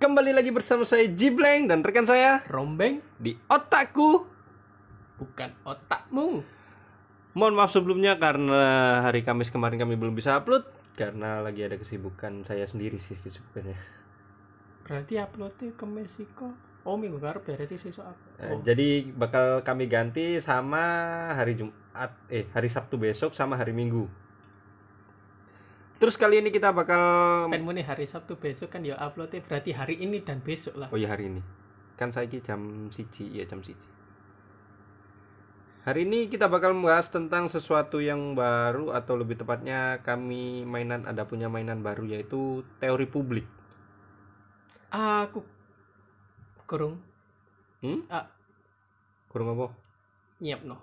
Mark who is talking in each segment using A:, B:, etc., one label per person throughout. A: Kembali lagi bersama saya Jibleng dan rekan saya
B: Rombeng
A: di Otakku.
B: bukan otakmu.
A: Mohon maaf sebelumnya karena hari Kamis kemarin kami belum bisa upload karena lagi ada kesibukan saya sendiri sih sebenarnya.
B: Berarti uploadnya ke Meksiko. Oh minggu garap berarti sesuk aku.
A: Eh,
B: Oh,
A: Jadi bakal kami ganti sama hari Jumat eh hari Sabtu besok sama hari Minggu. Terus kali ini kita bakal
B: penmu nih hari Sabtu besok kan ya uploadnya berarti hari ini dan besok lah.
A: Oh iya hari ini. Kan saya jam siji, iya jam siji. Hari ini kita bakal membahas tentang sesuatu yang baru atau lebih tepatnya kami mainan ada punya mainan baru yaitu teori publik.
B: Aku kurung
A: Hmm?
B: Ah.
A: Kurang apa?
B: nyiap no.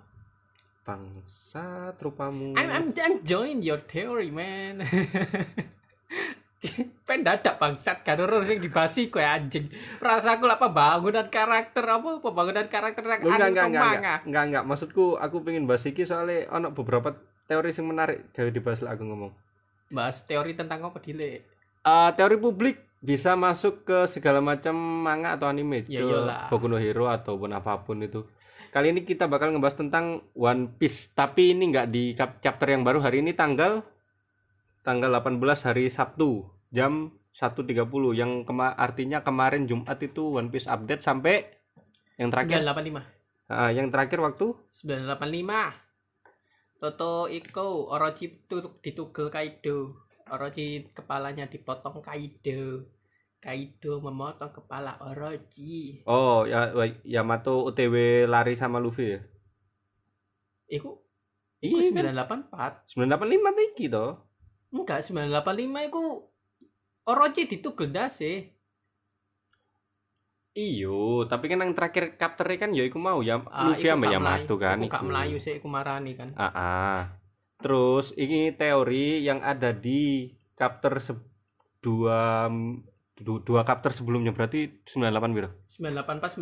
A: Bangsat rupamu.
B: I'm I'm I'm join your theory man. pendadak bangsat kan orang sing dibasi kowe anjing. Rasaku lah pembangunan karakter apa pembangunan karakter yang
A: Loh, enggak,
B: aneh
A: enggak, enggak,
B: tong manga.
A: enggak, enggak, enggak. Maksudku aku pengen bahas iki soalnya ono beberapa teori yang menarik gawe dibahas lah aku ngomong.
B: Bahas teori tentang apa dile?
A: Eh, teori publik bisa masuk ke segala macam manga atau anime
B: Ya,
A: ke
B: iyalah.
A: Boku no Hero ataupun apapun itu kali ini kita bakal ngebahas tentang One Piece tapi ini nggak di cap- chapter yang baru hari ini tanggal tanggal 18 hari Sabtu jam 1.30 yang kema- artinya kemarin Jumat itu One Piece update sampai yang terakhir
B: 985.
A: Ah, yang terakhir waktu
B: 985 Toto Iko Orochi tu- ditugel Kaido Orochi kepalanya dipotong Kaido Kaido memotong kepala Orochi
A: oh ya Yamato OTW lari sama Luffy ya
B: Iku iku
A: iya
B: 984
A: 985 tiki toh
B: Enggak 985 iku Orochi ditugel dase
A: Iyo, tapi kan yang terakhir kapternya kan ya iku mau ya
B: Ah,
A: Luffy
B: iku
A: sama
B: gak
A: Yamato
B: Melayu-
A: kan.
B: iku gak Melayu sih iku marani kan
A: Ah, ah. Terus ini teori yang ada di kapter se- dua du- dua kapter sebelumnya berarti 98 biro.
B: 984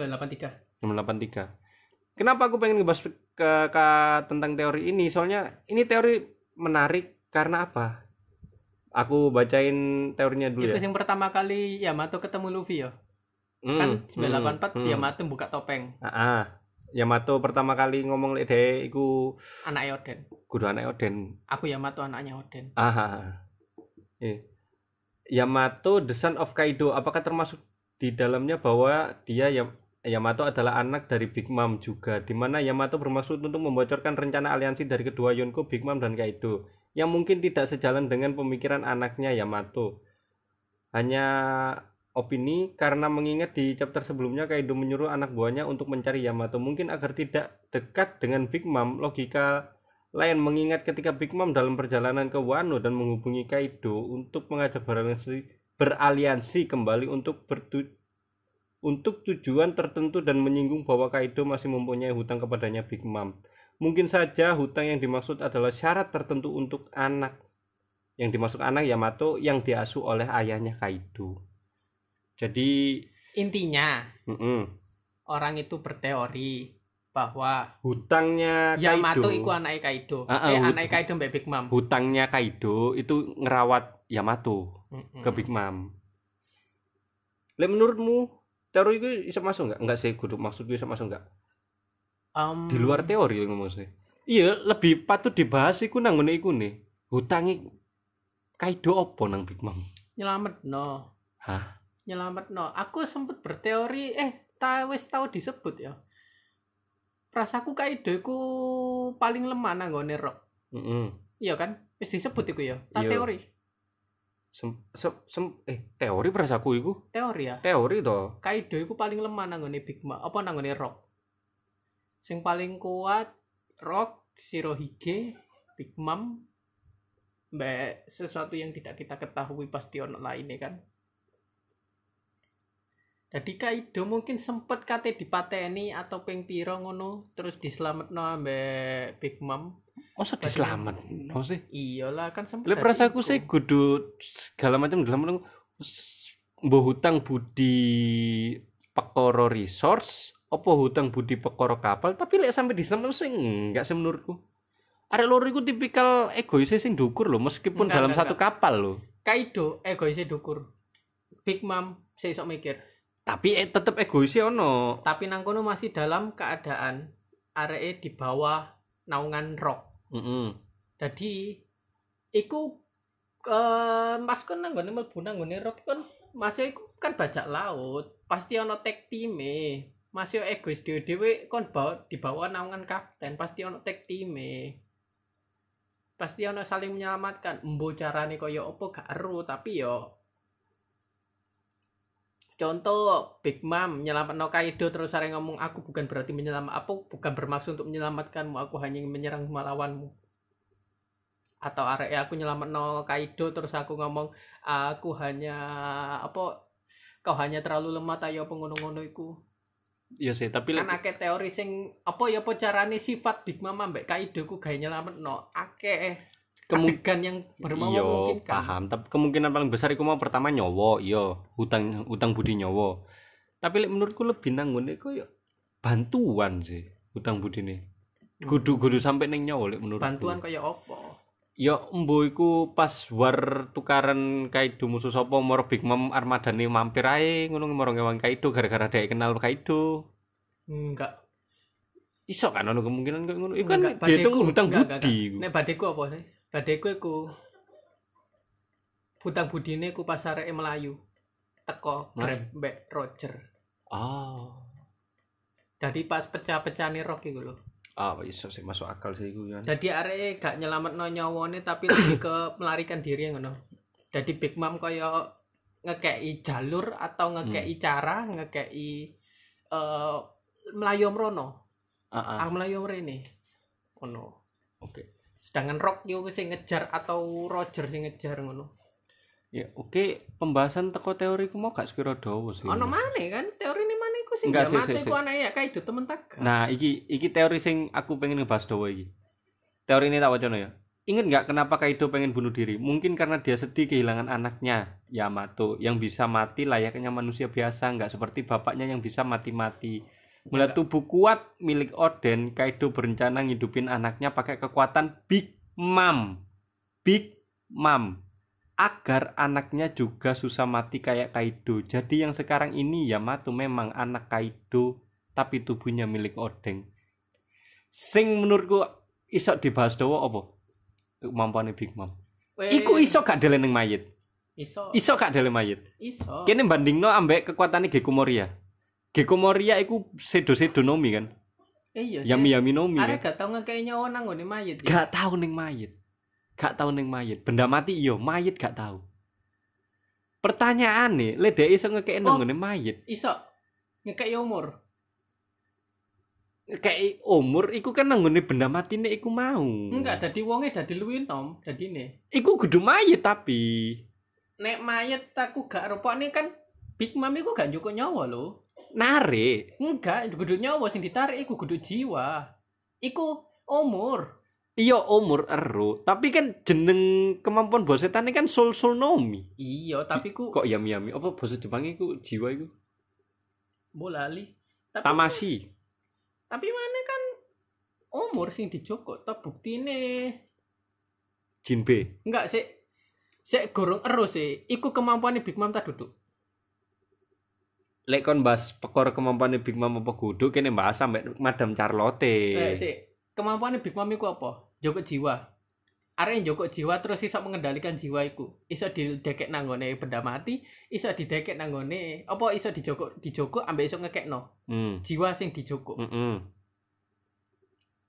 A: 983.
B: 983
A: Kenapa aku pengen ngebahas ke, ke- tentang teori ini? Soalnya ini teori menarik karena apa? Aku bacain teorinya dulu
B: Iku
A: ya.
B: yang pertama kali Yamato ketemu Luffy ya kan
A: Hmm, hmm,
B: 984
A: hmm.
B: Yamato buka topeng
A: Ah, ah. Yamato pertama kali ngomong lek dhek iku
B: anaknya Oden
A: kudu anake Oden.
B: aku Yamato anaknya Oden
A: Ah. Eh. Yamato the son of Kaido apakah termasuk di dalamnya bahwa dia Yam- Yamato adalah anak dari Big Mom juga di mana Yamato bermaksud untuk membocorkan rencana aliansi dari kedua Yonko Big Mom dan Kaido yang mungkin tidak sejalan dengan pemikiran anaknya Yamato. Hanya opini karena mengingat di chapter sebelumnya Kaido menyuruh anak buahnya untuk mencari Yamato mungkin agar tidak dekat dengan Big Mom logika lain mengingat ketika Big Mom dalam perjalanan ke Wano dan menghubungi Kaido untuk mengajak beraliansi, beraliansi kembali untuk bertu untuk tujuan tertentu dan menyinggung bahwa Kaido masih mempunyai hutang kepadanya Big Mom. Mungkin saja hutang yang dimaksud adalah syarat tertentu untuk anak. Yang dimaksud anak Yamato yang diasuh oleh ayahnya Kaido. Jadi,
B: intinya
A: mm-mm,
B: orang itu berteori bahwa
A: hutangnya
B: Yamato
A: Kaido,
B: itu anaknya Kaido.
A: Ah, ah,
B: eh,
A: wut-
B: anaknya Kaido mbak Big Mom.
A: hutangnya Kaido itu ngerawat Yamato.
B: Mm-mm.
A: ke Big Mom. Lek menurutmu teori itu bisa masuk nggak? Nggak sih, kudu maksud gue bisa masuk nggak?
B: Um,
A: Di luar teori yang ngomong sih. Iya, lebih patut dibahas iku nang ngene iku nih. Hutangi Kaido opo nang Big Mom?
B: Nyelamet no.
A: Hah?
B: Nyelamet no. Aku sempat berteori, eh, ta wis tahu disebut ya. Rasaku Kaido iku paling lemah nanggone rock.
A: Mm-mm.
B: Iya kan? Wis disebut iku ya. Ta
A: Iya.
B: teori.
A: Sem, sem, sem- eh teori perasaku iku.
B: Teori ya.
A: Teori toh.
B: Kaido iku paling lemah nanggone Big Mom. Apa nanggone rock? Sing paling kuat rock Shirohige, Big Mom, mbak sesuatu yang tidak kita ketahui pasti ono lainnya kan. Jadi Kaido mungkin sempet kate dipateni atau ping piro ngono terus diselametno ambek Big Mom.
A: Masa diselamat no sih?
B: Iyalah kan sempet.
A: Lek
B: dadi
A: perasaku
B: iku.
A: sih kudu segala macam dalam mbah hutang budi pekoro resource apa hutang budi pekoro kapal tapi lek sampai di Islam sih enggak sih menurutku arek loro iku tipikal egois sing dukur loh meskipun
B: Enggak,
A: dalam
B: enggak,
A: satu kapal loh
B: Kaido egoisnya dukur. eh, Big Mom saya sok mikir
A: tapi eh, tetep egoisnya ono
B: tapi nang kono masih dalam keadaan aree di bawah naungan rok
A: Mm-mm.
B: jadi iku eh mas kan nang ngene mlebu nang ngene rok kan mas iku kan bajak laut pasti ono tag time mas yo egois dhewe dhewe kon bawa di bawah naungan kapten pasti ono tag time pasti ono saling menyelamatkan embo carane kaya opo gak eru tapi yo contoh Big Mom menyelamatkan Kaido terus sering ngomong aku bukan berarti menyelamat aku bukan bermaksud untuk menyelamatkanmu aku hanya ingin menyerang melawanmu atau arek aku nyelamat Kaido terus aku ngomong aku hanya apa kau hanya terlalu lemah tayo pengono-ngono iku
A: iya sih tapi
B: kan akeh teori sing apa ya apa carane sifat Big Mom ambek Kaido ku gawe nyelametno akeh
A: kemungkinan
B: adegan yang bermawa
A: iya
B: mungkin kan
A: paham tapi kemungkinan paling besar iku mau pertama nyowo iya hutang hutang budi nyowo tapi lek menurutku lebih nanggone koyo bantuan sih hutang budi nih kudu kudu sampai neng nyowo lek menurutku
B: Hmm. bantuan kaya apa
A: Ya embo iku pas war tukaran Kaido musuh sapa moro Big Mom armadane mampir ae ngono moro ngewang Kaido gara-gara dhek kenal Kaido.
B: enggak
A: Iso kan ono kemungkinan kok ngono. Iku kan
B: Enggak, enggak,
A: dihitung
B: badeku.
A: hutang
B: Enggak, enggak,
A: budi iku.
B: nek badeku apa sih badeku iku hutang budine ku pas areke Melayu teko
A: Melayu.
B: Grab mbek Roger
A: Ah,
B: dari pas pecah-pecahane rok iku lho
A: ah iso sih masuk akal sih iku kan.
B: Jadi arek gak nyelametno nyawone tapi lebih ke melarikan diri ngono. Jadi Big Mom kaya ngekei jalur atau ngekei
A: Hmm.
B: cara, ngekei eh melayu mrono,
A: Heeh.
B: ah melayu mrene. Ngono.
A: Oke.
B: Sedangkan Rock yo sing ngejar atau Roger sing ngejar ngono.
A: Ya oke, pembahasan teko teori ku mau gak sekira dawa sih.
B: Ono maneh kan teori ini maneh iku sing
A: Enggak,
B: ya
A: sik,
B: mate
A: sik,
B: ku anake ya kaido temen tak.
A: Nah, iki iki teori sing aku pengen ngebahas dawa iki. Teori ini tak wacono ya. Ingat nggak kenapa Kaido pengen bunuh diri? Mungkin karena dia sedih kehilangan anaknya, Yamato, yang bisa mati layaknya manusia biasa, nggak seperti bapaknya yang bisa mati-mati. Melihat tubuh kuat milik Oden, Kaido berencana ngidupin anaknya pakai kekuatan Big Mom. Big Mom. Agar anaknya juga susah mati kayak Kaido. Jadi yang sekarang ini Yamato memang anak Kaido, tapi tubuhnya milik Oden. Sing menurutku isok dibahas dawa apa? kemampuannya Big Mom.
B: Weh,
A: Iku iso gak dele ning mayit.
B: iso
A: Iso gak dele mayit.
B: iso.
A: Kene bandingno ambek kekuatane Gecko Moria. Gecko Moria iku sedo-sedo nomi kan.
B: Eh, iya. sih.
A: Yami-yami nomi. Kan?
B: Arek gak tau ngekei nyawa nang ngene mayit. ya.
A: Gak tau ning mayit. Gak tau ning mayit. Benda mati iya, mayit gak tau. Pertanyaane, le dhek iso ngekeki
B: Oh.
A: nang ngene mayit.
B: Iso ngekei umur.
A: Kayak umur iku kan nang ngene benda matine iku mau.
B: Enggak, dadi wonge dadi luwih nom, dadine.
A: Iku kudu mayit tapi
B: Nek mayit aku gak rupane kan Big Mom iku gak cukup nyawa lho.
A: narik.
B: Enggak, kudu nyawa sing ditarik iku kudu jiwa. Iku umur.
A: Iya umur ero, tapi kan jeneng kemampuan bos setan ini kan soul soul nomi.
B: Iya, tapi ku
A: kok yami yami apa bahasa Jepangnya iku jiwa iku
B: bolali. Tapi
A: tamasi
B: tapi mana kan umur sing dijoko ta buktine.
A: jinbe
B: Enggak sih. Sik gorong ero sih. Iku kemampuane Big Mom tak duduk.
A: lek kon bahas pekor kemampuan Big Mom apa kudu kene bahas sampe Madam Charlotte
B: Eh, sik. Kemampuane Big Mom iku apa? Joko jiwa. Arek yang joko jiwa terus iso mengendalikan jiwa iku. Iso didekek nanggone benda mati, iso didekek nanggone apa iso dijoko dijoko ambek iso ngekekno
A: hmm.
B: jiwa sing dijoko.
A: Mm-mm.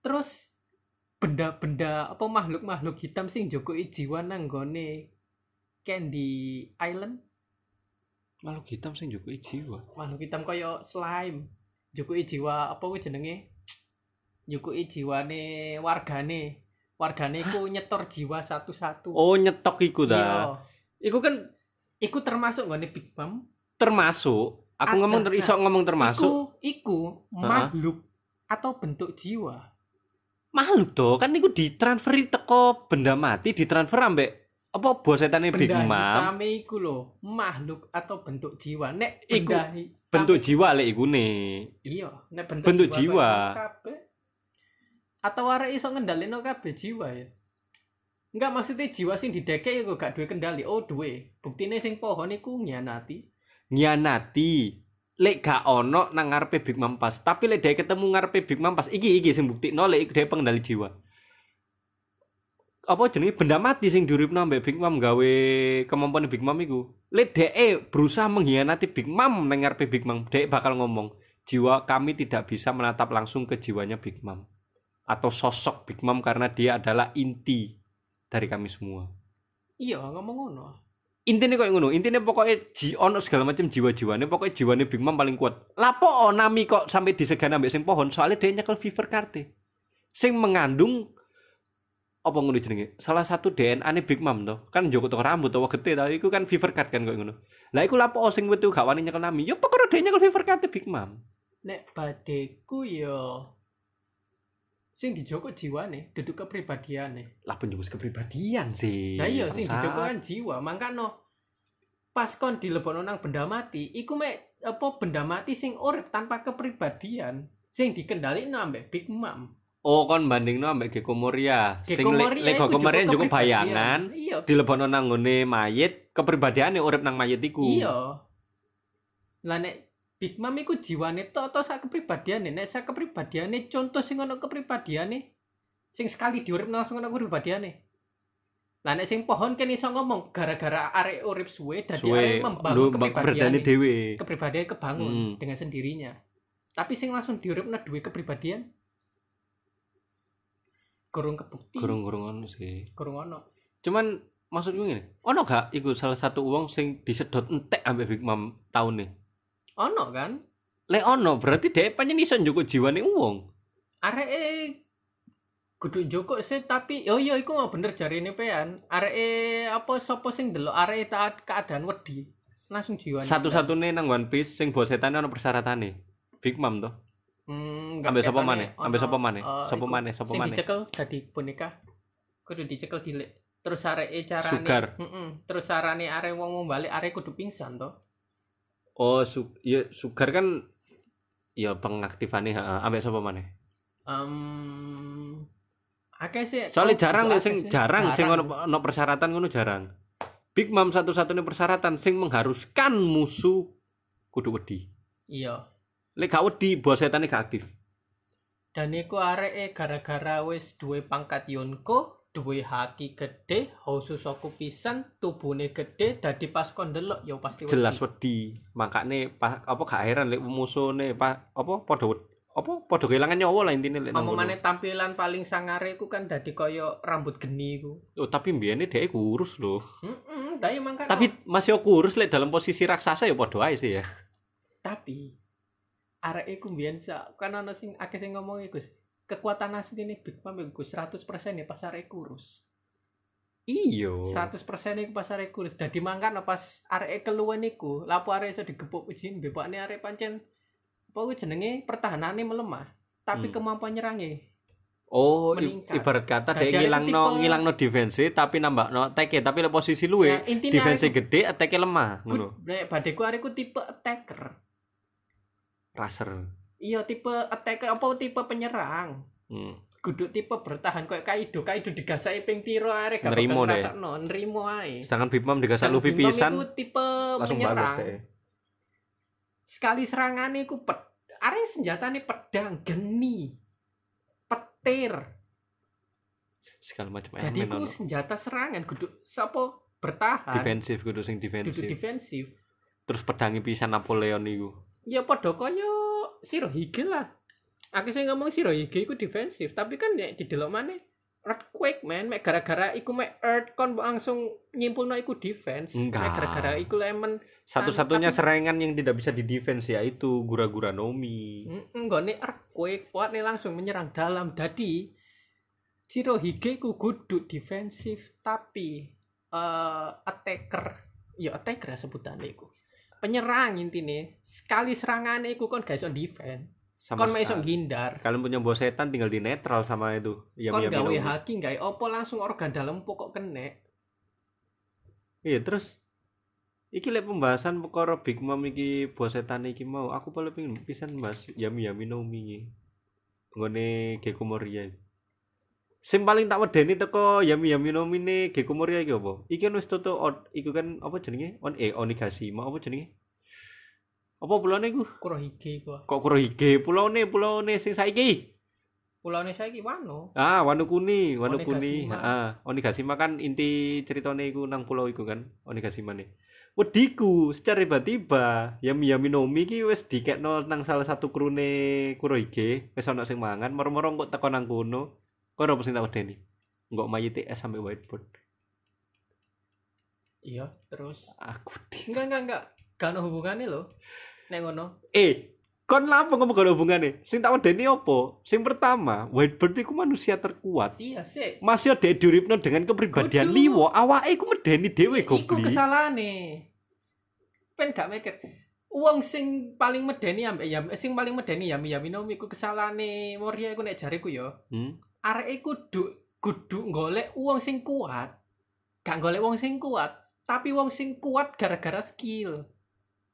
B: Terus benda-benda apa makhluk-makhluk hitam sing jokoki jiwa nanggone Candy Island,
A: makhluk hitam sing juga jiwa
B: makhluk hitam kaya slime. Jokoki jiwa apa kuwi jenenge? Jokoki jiwane wargane. Wargane iku nyetor jiwa satu-satu.
A: oh nyetok iku ta
B: Iya.
A: iku kan
B: Iku termasuk gak nih Big Mom?
A: termasuk aku
B: Ah,
A: ngomong ter
B: nah,
A: iso ngomong termasuk
B: Iku, iku
A: Ha?
B: makhluk atau bentuk jiwa.
A: makhluk toh kan iku ditransferi teko benda mati ditransfer ambek apa bos setan Big
B: Benda
A: Mom
B: hitam iku loh, makhluk atau bentuk jiwa. Nek
A: Iku
B: benda hi-
A: bentuk jiwa lek iku nih
B: iya, nek bentuk,
A: bentuk jiwa.
B: kaya ngono kabeh. Atau arek iso ngendalino kabeh jiwa ya. Enggak maksudnya jiwa sing didekek ya kok gak duwe kendali. Oh, duwe. Buktine sing pohon iku nyanati.
A: ngianati lek gak ono nang ngarepe Big Mom pas tapi lek dhek ketemu ngarepe Big Mom pas iki iki sing buktikno lek dhek pengendali jiwa apa jenenge benda mati sing diuripno ambek Big Mom gawe kemampuan Big Mom iku lek dhek berusaha mengkhianati Big Mom nang ngarepe Big Mom dhek bakal ngomong jiwa kami tidak bisa menatap langsung ke jiwanya Big Mom atau sosok Big Mom karena dia adalah inti dari kami semua
B: iya ngomong ngono
A: intinya kok ngono intinya pokoknya ji ono segala macam jiwa jiwanya pokoknya jiwanya Big Mom paling kuat lapo onami kok sampai disegani ambek sing pohon soalnya dia nyekel fever karte sing mengandung apa ngono jenenge salah satu DNA nih Big Mom toh kan joko tuh rambut tuh gede tau iku kan fever card kan kok ngono lah iku lapo sing wetu gak wani nyekel nami yo pokoknya dia nyekel fever card Big Mom
B: nek badeku yo sing dijoko jiwane duduk kepribadiane
A: lah penjumus kepribadian sih
B: Nah iya sing
A: Bangsat.
B: dijogo kan jiwa, mangkano pas kon dilebokno nang benda mati, iku mek apa benda mati sing urip tanpa kepribadian, sing dikendalino ambek Big Mom.
A: oh kon bandingno ambek Gecko Moria sing le-
B: Moria
A: lek
B: iku
A: Gecko Moria
B: juga
A: cukup
B: kepribadian.
A: bayangan
B: Iya.
A: dilebokno nang nggone mayit kepribadiane urip nang mayit iku
B: Iya. Lah nek Big Mom iku jiwane tok atau sak kepribadiane, nek sak kepribadiane contoh sing ono kepribadiane sing sekali diurip langsung ono kepribadiane. Lah nek sing pohon kan iso ngomong gara-gara arek urip suwe dadi
A: suwe lu
B: arek membangun
A: kepribadiane
B: kepribadiane.
A: dhewe
B: kepribadian kebangun
A: Hmm.
B: dengan sendirinya tapi sing langsung diuripna duwe kepribadian kurung kebukti
A: gurung-gurung ono sih
B: kurung ono
A: cuman maksudku ngene ono gak iku salah satu wong sing disedot entek ambek Big Mom taune
B: ono kan
A: lek ono berarti dhek panjen iso njogo jiwane wong
B: arek e kudu joko sih tapi yo yo iku mau bener jari ini pean arek e apa sopo sing delok arek e taat keadaan wedi langsung jiwa
A: satu-satune nang One Piece sing bos setane ono persyaratane Big Mom toh
B: hmm,
A: ambek sapa maneh ambek sapa maneh sapa maneh sapa
B: Oh, sing
A: maneh
B: dicekel dadi boneka kudu dicekel dilek terus arek e carane
A: Sugar
B: Mm-mm. terus carane arek wong mau balik arek kudu pingsan to
A: oh su ya sugar kan ya pengaktifane heeh ambek sapa maneh
B: Um, akeh sih.
A: Soalnya
B: Oh,
A: jarang
B: akeh
A: nih sing
B: sih.
A: jarang, sing ono, ono persyaratan ngono jarang. Big Mom satu-satunya persyaratan sing mengharuskan musuh kudu wedi.
B: Iya.
A: Lek gak wedi, bos setane gak aktif.
B: Dan iku areke gara-gara wis duwe pangkat Yonko, duwe haki gede, hausu soku pisan, tubune gede, dadi pas kon ndelok ya pasti wedi.
A: Jelas wedi. Makane pa, apa gak heran lek musuhne pa, apa padha wed- apa padha kehilangan nyawa lah intine lek nang
B: Omongane
A: kono.
B: tampilan paling sangare iku kan dadi kaya rambut geni iku.
A: Oh, tapi mbiyene dhek kurus loh.
B: Heeh, daya mangkane.
A: Tapi masih kurus lek dalam posisi raksasa ya padha ae sih ya.
B: tapi arek iku mbiyen sak kan ana sing akeh sing ngomong iku Gus. kekuatan asline Big Mom iku 100% ya pas arek kurus.
A: Iya.
B: 100% iku pas arek kurus. Dadi mangkano pas arek keluwen iku, lapo arek iso digepuk ujin bepakne arek pancen apa kuwi jenenge pertahanane melemah, tapi
A: Hmm.
B: kemampuan nyerange.
A: Oh, i-
B: Meningkat.
A: ibarat kata dhek
B: Dadi arek
A: ngilangno
B: tipe-
A: ngilangno defense e tapi nambahno attack e. tapi lek posisi luwe
B: Nah, intinya
A: defense
B: arek
A: gede attack lemah
B: ku,
A: ngono
B: nek badeku arek ku tipe attacker.
A: raser
B: Iya, tipe attacker apa tipe penyerang.
A: hmm.
B: Guduk tipe bertahan koyo Kaido, Kaido digasaki ping tiro arek gak
A: Nerimo
B: bakal
A: deh.
B: ngrasakno, nrimo ae.
A: sedangkan Big Mom digasak
B: Sang
A: Luffy
B: Bintang
A: pisan
B: iku tipe
A: langsung balas
B: penyerang.
A: dhek
B: sekali serangane iku ped are senjatane pedang geni petir
A: segala macam
B: jadi
A: elemen
B: iku
A: ono
B: senjata serangan kudu sapa bertahan
A: defensif kudu sing
B: kudu
A: defensif
B: defensif
A: terus pedangi pisan Napoleon iku
B: ya padha kaya Shirohige lah aku sing ngomong Shirohige iku defensif tapi kan nek didelok maneh earthquake man mek gara-gara iku mek earth kon langsung nyimpulno iku defense
A: Enggak.
B: mek gara-gara iku lemon
A: satu-satunya
B: tapi-
A: serangan yang tidak bisa di defense yaitu gura-gura Nomi
B: nggone earthquake kuatne langsung menyerang dalam dadi Shirohige ku guduk defensif tapi eh, attacker ya attacker ya sebutannya iku penyerang intine sekali serangane iku kon gak iso defend
A: sama
B: kon mah iso
A: sekali.
B: ngindar
A: kalian punya bos setan tinggal di netral sama itu ya
B: kon
A: ya
B: gawe haki gawe opo langsung organ dalam pokok kene
A: Iya terus iki lek pembahasan perkara Big Mom iki bosetan iki mau aku paling pengin pisan Mas Yami Yami no Mi iki. Nggone Gecko Moria. iki. Sing paling tak wedeni teko Yami Yami no Mi ne Gecko Moria iki apa? Iki kan wis tutuk on- iku kan apa jenenge? On eh Onigashima apa jenenge? Apa pulau iku?
B: Kurohige iku.
A: Kok Kurohige? Pulau nih, pulau nih sing saiki.
B: Pulaune saiki Wano.
A: Ah, Wano Kuni, Wano Kuni.
B: Onigashima.
A: Heeh. Onigashima kan inti ceritane iku nang pulau iku kan, Onigashima nih. Wediku, secara tiba-tiba, Yami Yami Nomi ki wis dikekno nang salah satu krune Kurohige, wis ana sing mangan, moro-moro kok teko nang kono. Kok ora sing tak wedeni. Engko mayite es sampe whiteboard.
B: Iya, terus
A: Aku di.
B: enggak enggak enggak gak ono hubungane lho. Nek ngono.
A: Eh, kon lapo ngomong gak ada hubungane? Sing tak wedeni opo? Sing pertama, whiteboard iku manusia terkuat.
B: Iya sih.
A: Masih ada duripno dengan kepribadian
B: Kudu.
A: liwo, awake iku medeni dhewe
B: Iku
A: goblok.
B: kesalahane. Pen gak mikir. Wong sing paling medeni ambek Yami, eh, sing paling medeni Yami Yami no iku kesalahane Moria iku nek jariku ya.
A: Hmm?
B: areke kudu kudu golek wong sing kuat. Gak golek wong sing kuat, tapi wong sing kuat gara-gara skill.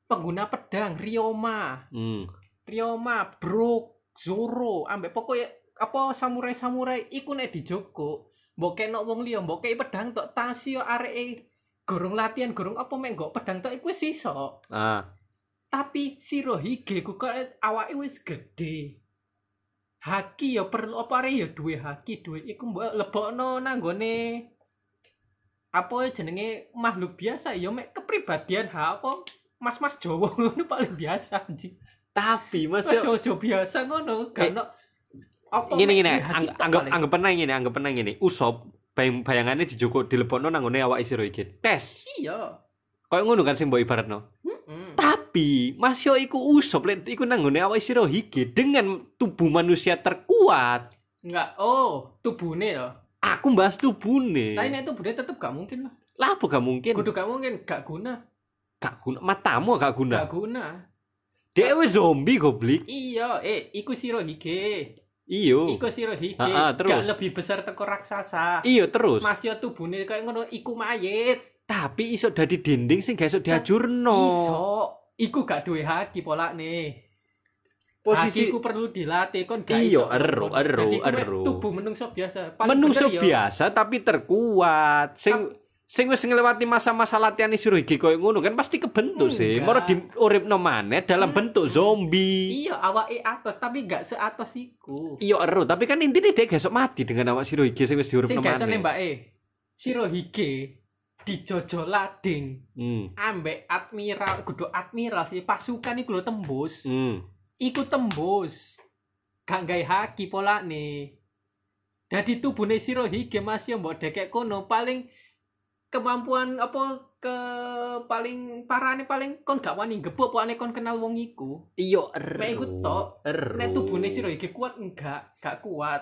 B: Pengguna pedang Ryoma,
A: Hmm.
B: Ryoma, Brook, Zoro, ambek pokoknya apa samurai-samurai iku nek dijoko. Mbok kenok wong liya, mbok kei pedang tok tasio areke gorong latihan, gorong apa mek nggo pedang tok iku wis iso.
A: Ah,
B: Tapi Shirohige ku kok awake wis gedhe. Haki ya perlu apa arek ya duwe haki duwe iku mbok lebokno nang nggone apa jenenge makhluk biasa ya mek kepribadian ha apa mas-mas Jawa ngono paling biasa anjing.
A: tapi Mas
B: Mas
A: yo
B: Jawa biasa ngono
A: Eh,
B: gak ono apa
A: ngene
B: mek
A: ngene,
B: duwe haki
A: angg-
B: tok
A: anggap
B: paling.
A: anggap penang ngene, anggap penang ngene. Usop bayang, bayangannya dijoko dilebokno nang ngene awake sira iki. Tes.
B: iya.
A: Kayak ngono kan sing mbok ibaratno.
B: Heeh.
A: Tapi Mas yo iku usop lek iku nang ngene awake sira iki dengan tubuh manusia terkuat.
B: Enggak. Oh, tubune ya.
A: Aku bahas tubuhne.
B: Tapi nek tubune tetep gak mungkin lah.
A: Lah apa gak Iya. mungkin?
B: Kudu gak mungkin, gak guna,
A: Gak guna matamu gak guna.
B: gak guna.
A: Dia wis zombie goblok.
B: Iya, eh iku Shirohige.
A: Iyo.
B: Iku Shirohige.
A: Ha, ha, Uh. Ah, terus.
B: Gak lebih besar teko raksasa.
A: Iyo terus.
B: Masih tubune kayak ngono iku mayit.
A: Tapi iso dadi dinding sing gak iso diajurno.
B: Iso iku gak duwe haki polakne.
A: Posisi
B: Posisi iku perlu dilatih kon gak
A: Iya,
B: iso.
A: ero, ero,
B: Jadi iku mek
A: ero.
B: Tubuh menungso biasa.
A: menungso
B: bener ya. yo,
A: biasa tapi terkuat sing sing wis ngelewati masa-masa latihan Shirohige koyo ngono kan pasti kebentuk sih
B: Enggak.
A: moro di uripno maneh dalam
B: Hmm.
A: bentuk zombie
B: Iya, awake atas tapi gak seatas iku.
A: iya ero tapi kan intinya dia gak esok mati dengan awak Shirohige sing wis diuripno
B: Sing gak
A: maneh
B: sene mbake. Shirohige dijojo lading
A: hmm.
B: ambek admiral, kudu admiral sih pasukan iku lho tembus.
A: hmm.
B: iku tembus gak gawe haki pola nih jadi tubuhnya Shirohige masih mbok dekek kono paling kemampuan apa ke paling parane paling kon gak wani gebuk pokoknya kon kenal wong iku
A: iya ero
B: Mek iku tok.
A: ero
B: nek tubuhnya Shirohige kuat enggak gak kuat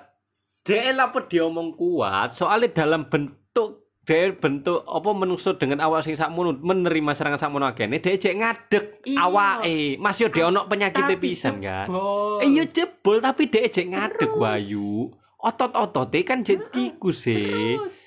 A: dia lapo diomong kuat soalnya dalam bentuk dia bentuk apa menungso dengan awak sing sakmono menerima serangan sakmono akene dia cek ngadeg
B: Iya.
A: awake masih dia ono penyakitnya
B: Tapi
A: pisan kan
B: Bol.
A: Iya jebol tapi dhek jek ngadeg
B: Terus.
A: wayu. Otot-otote kan jek iku sih.
B: terus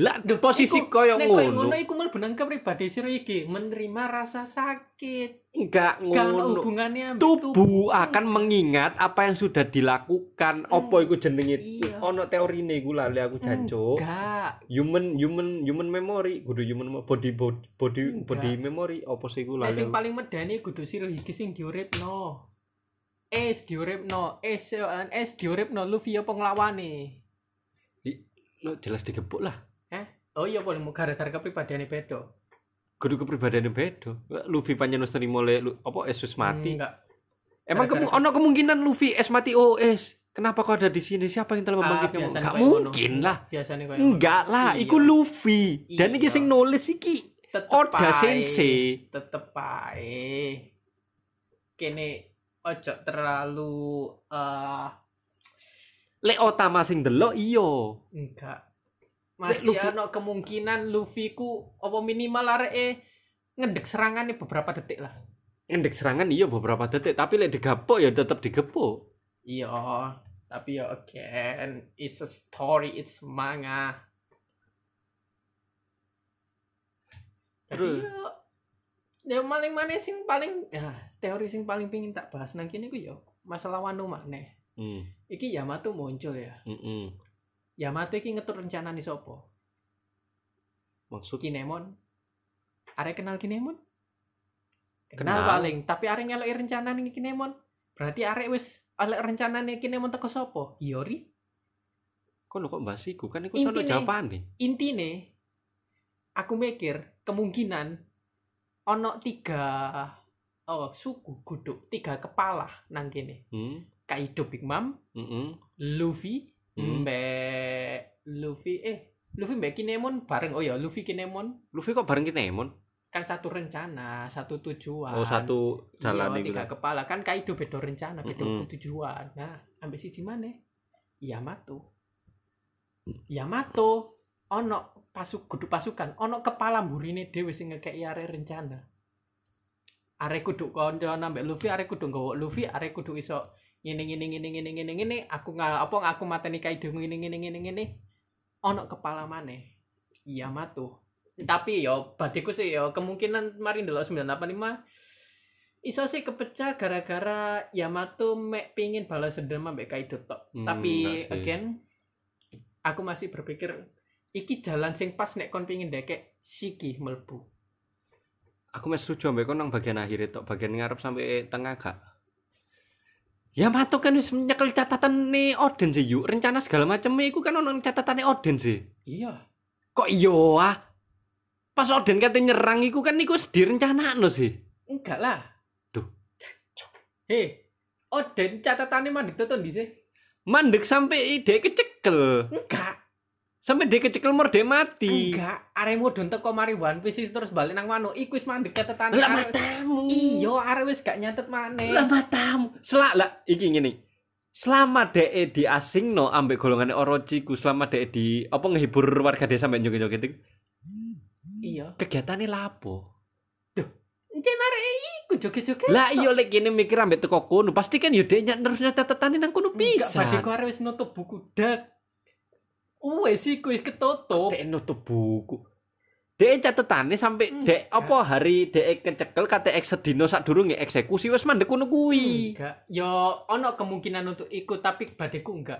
A: Lah posisi
B: Iku-
A: koyo
B: nek koyo ngono
A: ngono
B: iku mlebu nang kepribadian Shirohige menerima rasa sakit
A: enggak
B: gak ono
A: ngono.
B: hubungannya ambek
A: Tubuh akan mengingat apa yang sudah dilakukan. Apa iku jenenge?
B: Hmm. Iya. Hmm.
A: Ono teorine iku lali aku jancuk.
B: enggak
A: Human human human memory, kudu human mo- body body body,
B: Enggak.
A: body memory apa sih iku
B: Hmm, Nek
A: lali.
B: sing
A: aku.
B: paling medeni kudu Shirohige sing diuripno. Es diuripno, es seoan es diuripno Luffy ya penglawane.
A: Lo jelas digebuk lah.
B: Oh iya paling mau gara-gara kepribadiane bedo.
A: Kudu kepribadiannya beda. Luffy panjenengan terima oleh Lu- apa Yesus mati.
B: Enggak.
A: Emang kemu
B: Gara-gara-
A: ono kemungkinan Luffy es mati OS. Kenapa kau ada di sini? Siapa yang telah membangkitkan?
B: biasanya
A: Gak
B: Ah, kayak
A: gitu. mungkin
B: ngono.
A: lah.
B: Biasanya koyo.
A: Enggak lah,
B: Iya.
A: iku Luffy. Dan iki
B: Iya.
A: sing nulis iki
B: tetep
A: Oda
B: ae,
A: Sensei.
B: Tetep ae. Kene ojo terlalu eh
A: Lek Otama sing delok iya. iyo.
B: enggak.
A: Lek
B: Masih
A: Luffy-
B: ono kemungkinan Luffy ku apa minimal areke ngendek serangannya beberapa detik lah.
A: Ngendek serangan iyo beberapa detik, tapi lek digepok ya tetap digepok.
B: Iya, tapi ya again, it's a story, it's manga.
A: Terus?
B: Terus ya, yang paling mana sing paling ya teori sing paling pingin tak bahas nang kene ku ya masalah Wano maneh.
A: Hmm,
B: Iki Yamato muncul ya.
A: mm, mm.
B: Yamato iki ngetur rencanane sapa?
A: Maksud
B: Kinemon. Arek kenal Kinemon?
A: Kenal.
B: Kenal paling, tapi arek nyeluk rencana ning Kinemon. Berarti arek wis oleh rencana ning Kinemon teko sapa? Hiyori.
A: Kok lo kok bahas iku? Kan iku
B: Intinya-
A: sono jawaban nih.
B: Intine aku mikir kemungkinan ono tiga oh suku guduk tiga kepala nang kene.
A: Hmm.
B: Kaido Big Mom,
A: Mm-mm.
B: Luffy,
A: Hmm.
B: Mbak Luffy eh Luffy Mbak Kinemon bareng oh ya Luffy Kinemon
A: Luffy kok bareng Kinemon?
B: kan satu rencana satu tujuan
A: Oh, satu jalan
B: iya,
A: iku.
B: tiga kepala kan Kaido beda rencana beda
A: Mm-mm.
B: tujuan nah ambil siji mana Yamato Yamato ono pasuk kudu pasukan ono kepala mburine dhewe sing ngekeki arek rencana arek kudu konco ambek Luffy arek kudu nggawa Luffy arek kudu iso ngene ngene ngene ngene ngene ngene aku ngal apa aku mateni Kaido ngene ngene ngene ngene ono kepala maneh Yamato tapi yo badiku sih yo kemungkinan mari ndelok 985 iso sih kepecah gara-gara Yamato mek pingin balas dendam ambek Kaido tok.
A: Hmm,
B: Tapi
A: enggak sih.
B: again aku masih berpikir iki jalan sing pas nek kon pingin dekek Shiki melbu.
A: Aku masih setuju ambek kon nang bagian akhir itu, bagian ngarep sampai tengah gak. Yamato kan wis nyekel catatan nih Odin sih yuk rencana segala macam iku kan ono catatan nih Odin sih
B: Iya.
A: kok iyo ah pas Odin kate nyerang iku kan iku direncanakno sih
B: Enggak lah.
A: Duh.
B: Hei, Oden catatannya mandek tuh di sih?
A: mandek sampai ide kecekel
B: Enggak,
A: sampai dia kecekel mor dia mati
B: enggak. Arek mudun teko mari One Piece terus balik nang mano. Iku wis mandek catatane.
A: lah
B: Arek-
A: matamu
B: Iya, arek wis gak nyatet
A: lah
B: maneh.
A: matamu selak lah iki ngene selama dee di asing no ambek golongan Orochi ku selama dee di apa ngehibur warga desa sampai joget-joget itu
B: Iya.
A: kegiatannya lapo
B: Encen arek iku joget-joget.
A: lah iya lek gini mikir ambek teko kono pasti kan yo dee nyat terus nyatetane nang kono
B: Enggak,
A: bisa
B: badhe arek wis nutup buku dak. Wes iku wis ketutup.
A: dek nutup buku dek catetane sampai
B: Enggak.
A: dek apa hari dek kecekel kate ek sedino sak durunge eksekusi wis mandek kono kuwi
B: Enggak. Yo ono kemungkinan untuk ikut tapi badeku enggak.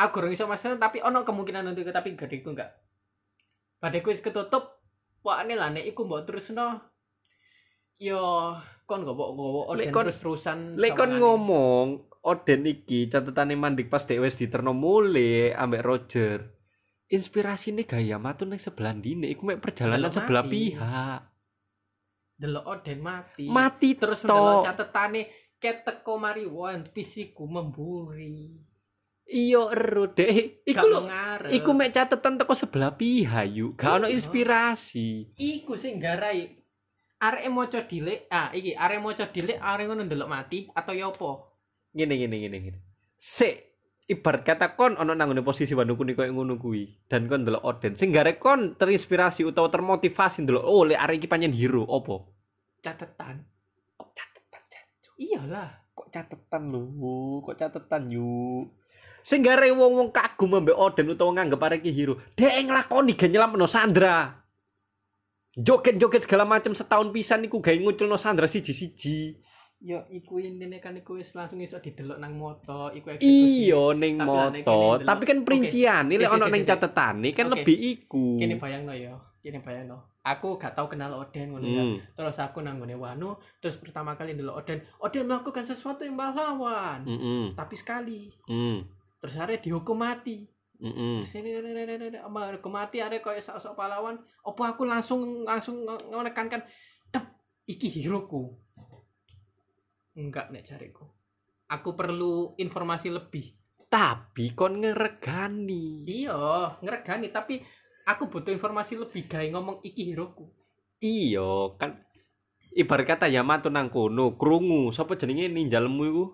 B: Aku ora iso masalah tapi ono kemungkinan untuk ikut tapi badeku enggak. Badeku wis ketutup. Pokoknya lah nek iku mbok terusno. Yo kon gak mbok gowo
A: Lek
B: orden
A: kon-
B: terus-terusan.
A: lek kon
B: sawangane.
A: ngomong Oden iki catetane mandek pas dek wis diterno mule ambek Roger inspirasine gaya matu ning sebelah dine iku mek perjalanan
B: Delok
A: sebelah
B: mati.
A: pihak
B: delok Oden mati.
A: mati
B: terus
A: tok.
B: ndelok catetane ketek mari One Piece iku memburi.
A: iya ero dek iku
B: Gak
A: lho
B: mengarep.
A: iku mek catetan teko sebelah pihak yuk gak ono
B: Iya.
A: inspirasi
B: iku sing garai arek maca dilek ah iki arek maca dilek arek ngono ndelok mati atau ya apa
A: ngene ngene ngene ngene. Se ibarat kata kon ono nang ngene posisi Wanduku niku koyo ngono kuwi dan kon ndelok Oden sing garek kon terinspirasi utawa termotivasi ndelok oh lek arek iki pancen hero opo?
B: catatan
A: Kok catetan jancuk?
B: iyalah
A: Kok catetan lho, kok catetan yuk. Sing garek wong-wong kagum ambek Oden utawa nganggep arek iki hero, dhek nglakoni gen nyelamno Sandra. Joget-joget segala macam setahun pisan niku gawe nguculno Sandra siji-siji.
B: ya iku intine kan iku wis langsung iso didelok nang moto iku eksekusi
A: Iya ning
B: Tapi lah,
A: moto,
B: nek kene delok-
A: tapi kan
B: Oke.
A: perinciane
B: Si,
A: lek
B: si,
A: ono
B: si,
A: ning
B: si, si.
A: catetane kan
B: Oke.
A: lebih iku. Hmm,
B: kene bayangno ya kene bayangno aku gak tau kenal Oden ngono ya
A: Hmm.
B: terus aku nang ngone Wano terus pertama kali ndelok Oden Oden melakukan sesuatu yang melawan
A: Mm-mm.
B: tapi sekali
A: Mm.
B: terus arek dihukum mati
A: Mm-mm.
B: sini hukum mati ada kayak sok-sok pahlawan opo aku langsung langsung nge- menekankan tep iki hiroku enggak nek cariku aku perlu informasi lebih
A: Tapi kon ngeregani.
B: iya ngeregani tapi aku butuh informasi lebih gawe ngomong iki hiroku
A: Iya, kan ibarat kata Yamato nang kono krungu sapa jenenge ninjalmu iku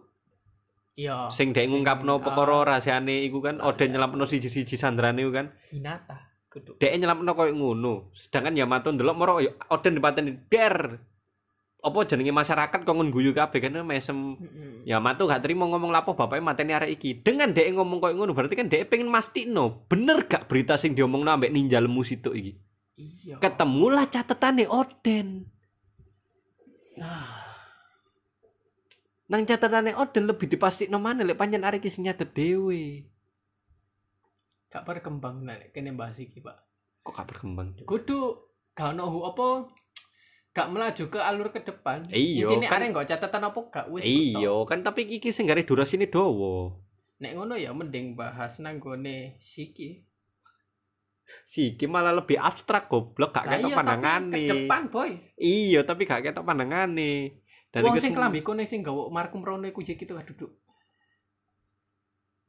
B: iya
A: sing dek ngungkapno
B: ah,
A: perkara rahasiane iku kan
B: Ah,
A: Oden
B: iya.
A: nyelampno siji-siji sandrane iku kan
B: Hinata kudu
A: dek nyelampno koyo ngono sedangkan Yamato ndelok moro ya, Oden dipateni der apa jenenge masyarakat kok ngguyu kabeh kan mesem
B: Mm-mm.
A: Yamato gak terima ngomong lapo bapaknya mateni arek iki. Dengan dhek ngomong koyo ngono berarti kan dhek pengen mastikno bener gak berita sing diomongno ambek ninja lemu situ iki.
B: iya
A: Ketemulah catetane Oden.
B: nah
A: Nang catetane Oden lebih dipastikno mana lek pancen arek iki sing nyatet dhewe.
B: gak berkembang nek kene bahas iki pak
A: Kok gak berkembang?
B: kudu gak ono hu- apa gak melaju ke alur ke depan.
A: Iya,
B: Intine
A: kan-
B: arek nggak catatan apa gak wis. ketok.
A: Iya, kan tapi iki sing gare durasi ini dowo.
B: Nek ngono ya mending bahas nang nggone siki.
A: Si iki malah lebih abstrak goblok gak
B: Lah
A: ketok
B: iya, tapi Ke
A: pandangane.
B: depan, boy.
A: Iya, tapi gak ketok pandangane. Dari
B: Wong sing
A: kesem-
B: klambi kono sing gawe markum rono iku jek gitu gak duduk.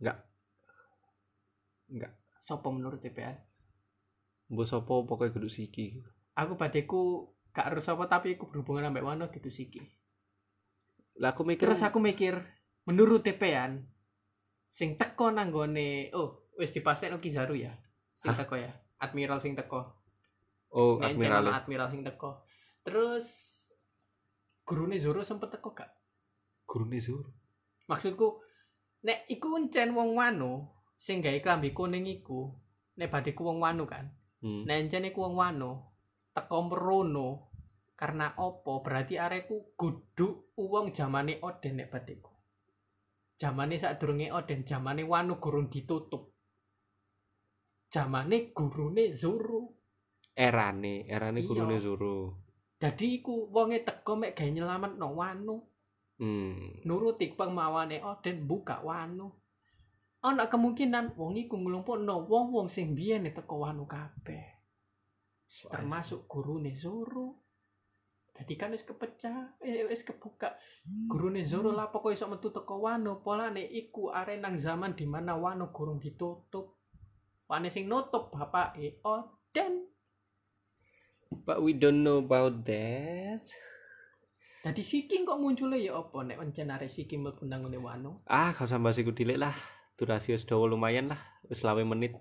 A: Nggak. Nggak.
B: Sopo menurut TPN?
A: Mbok sapa pokoke kudu siki.
B: Aku badeku gak harus apa tapi aku berhubungan ambek Wano gitu siki.
A: Lah aku mikir
B: Terus aku mikir, menurut TPN sing teko nang nggone oh, wis dipastekno Kizaru ya. Sing
A: Hah?
B: teko ya. Admiral sing teko.
A: oh
B: Nek
A: admiral.
B: jeneng Admiral sing teko. Terus gurune Zoro sempet teko gak?
A: Gurune Zoro.
B: maksudku nek iku encen wong wano sing gawe klambi kuning iku nek badeku wong wano kan
A: Hmm.
B: nek encen iku wong wano teko merono karena opo berarti areku kudu uang zamane Oden nek badeku zamane sadurunge Oden zamane wano gurung ditutup zamane gurune Zoro
A: Erane, erane
B: Iya.
A: gurune Zoro.
B: jadi iku wonge teko mek gawe nyelamat no wano
A: Hmm.
B: nuruti pengmawane Oden "Oh, buka Wano. Ana kemungkinan wong iku nglumpukno wong-wong sing biyen teko Wano kabeh, termasuk gurune Zoro. Jadi kan wis kepecah, eh, wis kebuka. Gurune Zoro lah kok iso metu teko Wano, polane iku are nang zaman di mana Wano gurung ditutup. Wane sing nutup bapake "Oh, Oden.
A: But we don't know about that.
B: Dadi Siki kok munculnya ya apa nek encen arek Siki mlebu nang ngone Wano?
A: Ah, gak usah bahas iku dilek lah. Durasi wis dawa lumayan lah, wis lawe menit.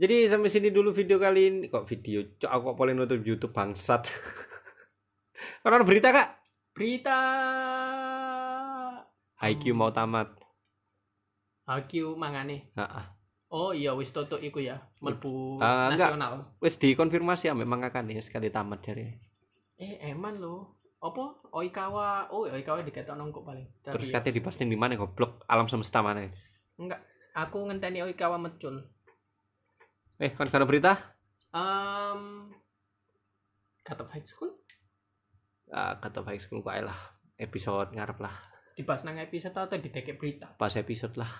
A: Jadi sampai sini dulu video kali ini. Kok video? Cok, aku kok paling nonton YouTube bangsat. Karena ada berita kak.
B: Berita
A: IQ mau tamat.
B: Hagyu mangane.
A: Heeh.
B: Oh iya wis tutup iku ya, mlebu
A: Ah, enggak.
B: nasional.
A: Wes dikonfirmasi ya memang akan ya sekali tamat dari.
B: Eh eman lo. Apa? Oikawa. Oh, Oikawa diketok nongkok paling. ya. Tapi
A: Terus katanya dipastiin di mana goblok alam semesta mana?
B: aku ngenteni Oikawa mecul.
A: Eh kan karena berita?
B: Um, kata high school
A: Ah, kata baik sebelum kok ae lah episode ngarep lah
B: dibahas nang episode atau di dekek berita.
A: pas episode lah.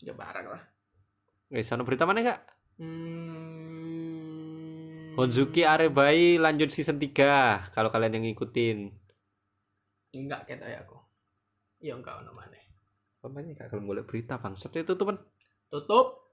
B: Ya barang lah.
A: Wes ana berita mana kak?
B: Hmm.
A: Honzuki Arebai lanjut season 3 kalau kalian yang ngikutin.
B: Enggak ketok ya aku. Ya enggak ono maneh.
A: Pemainnya gak kalau boleh berita bangsat itu tuh
B: Tutup.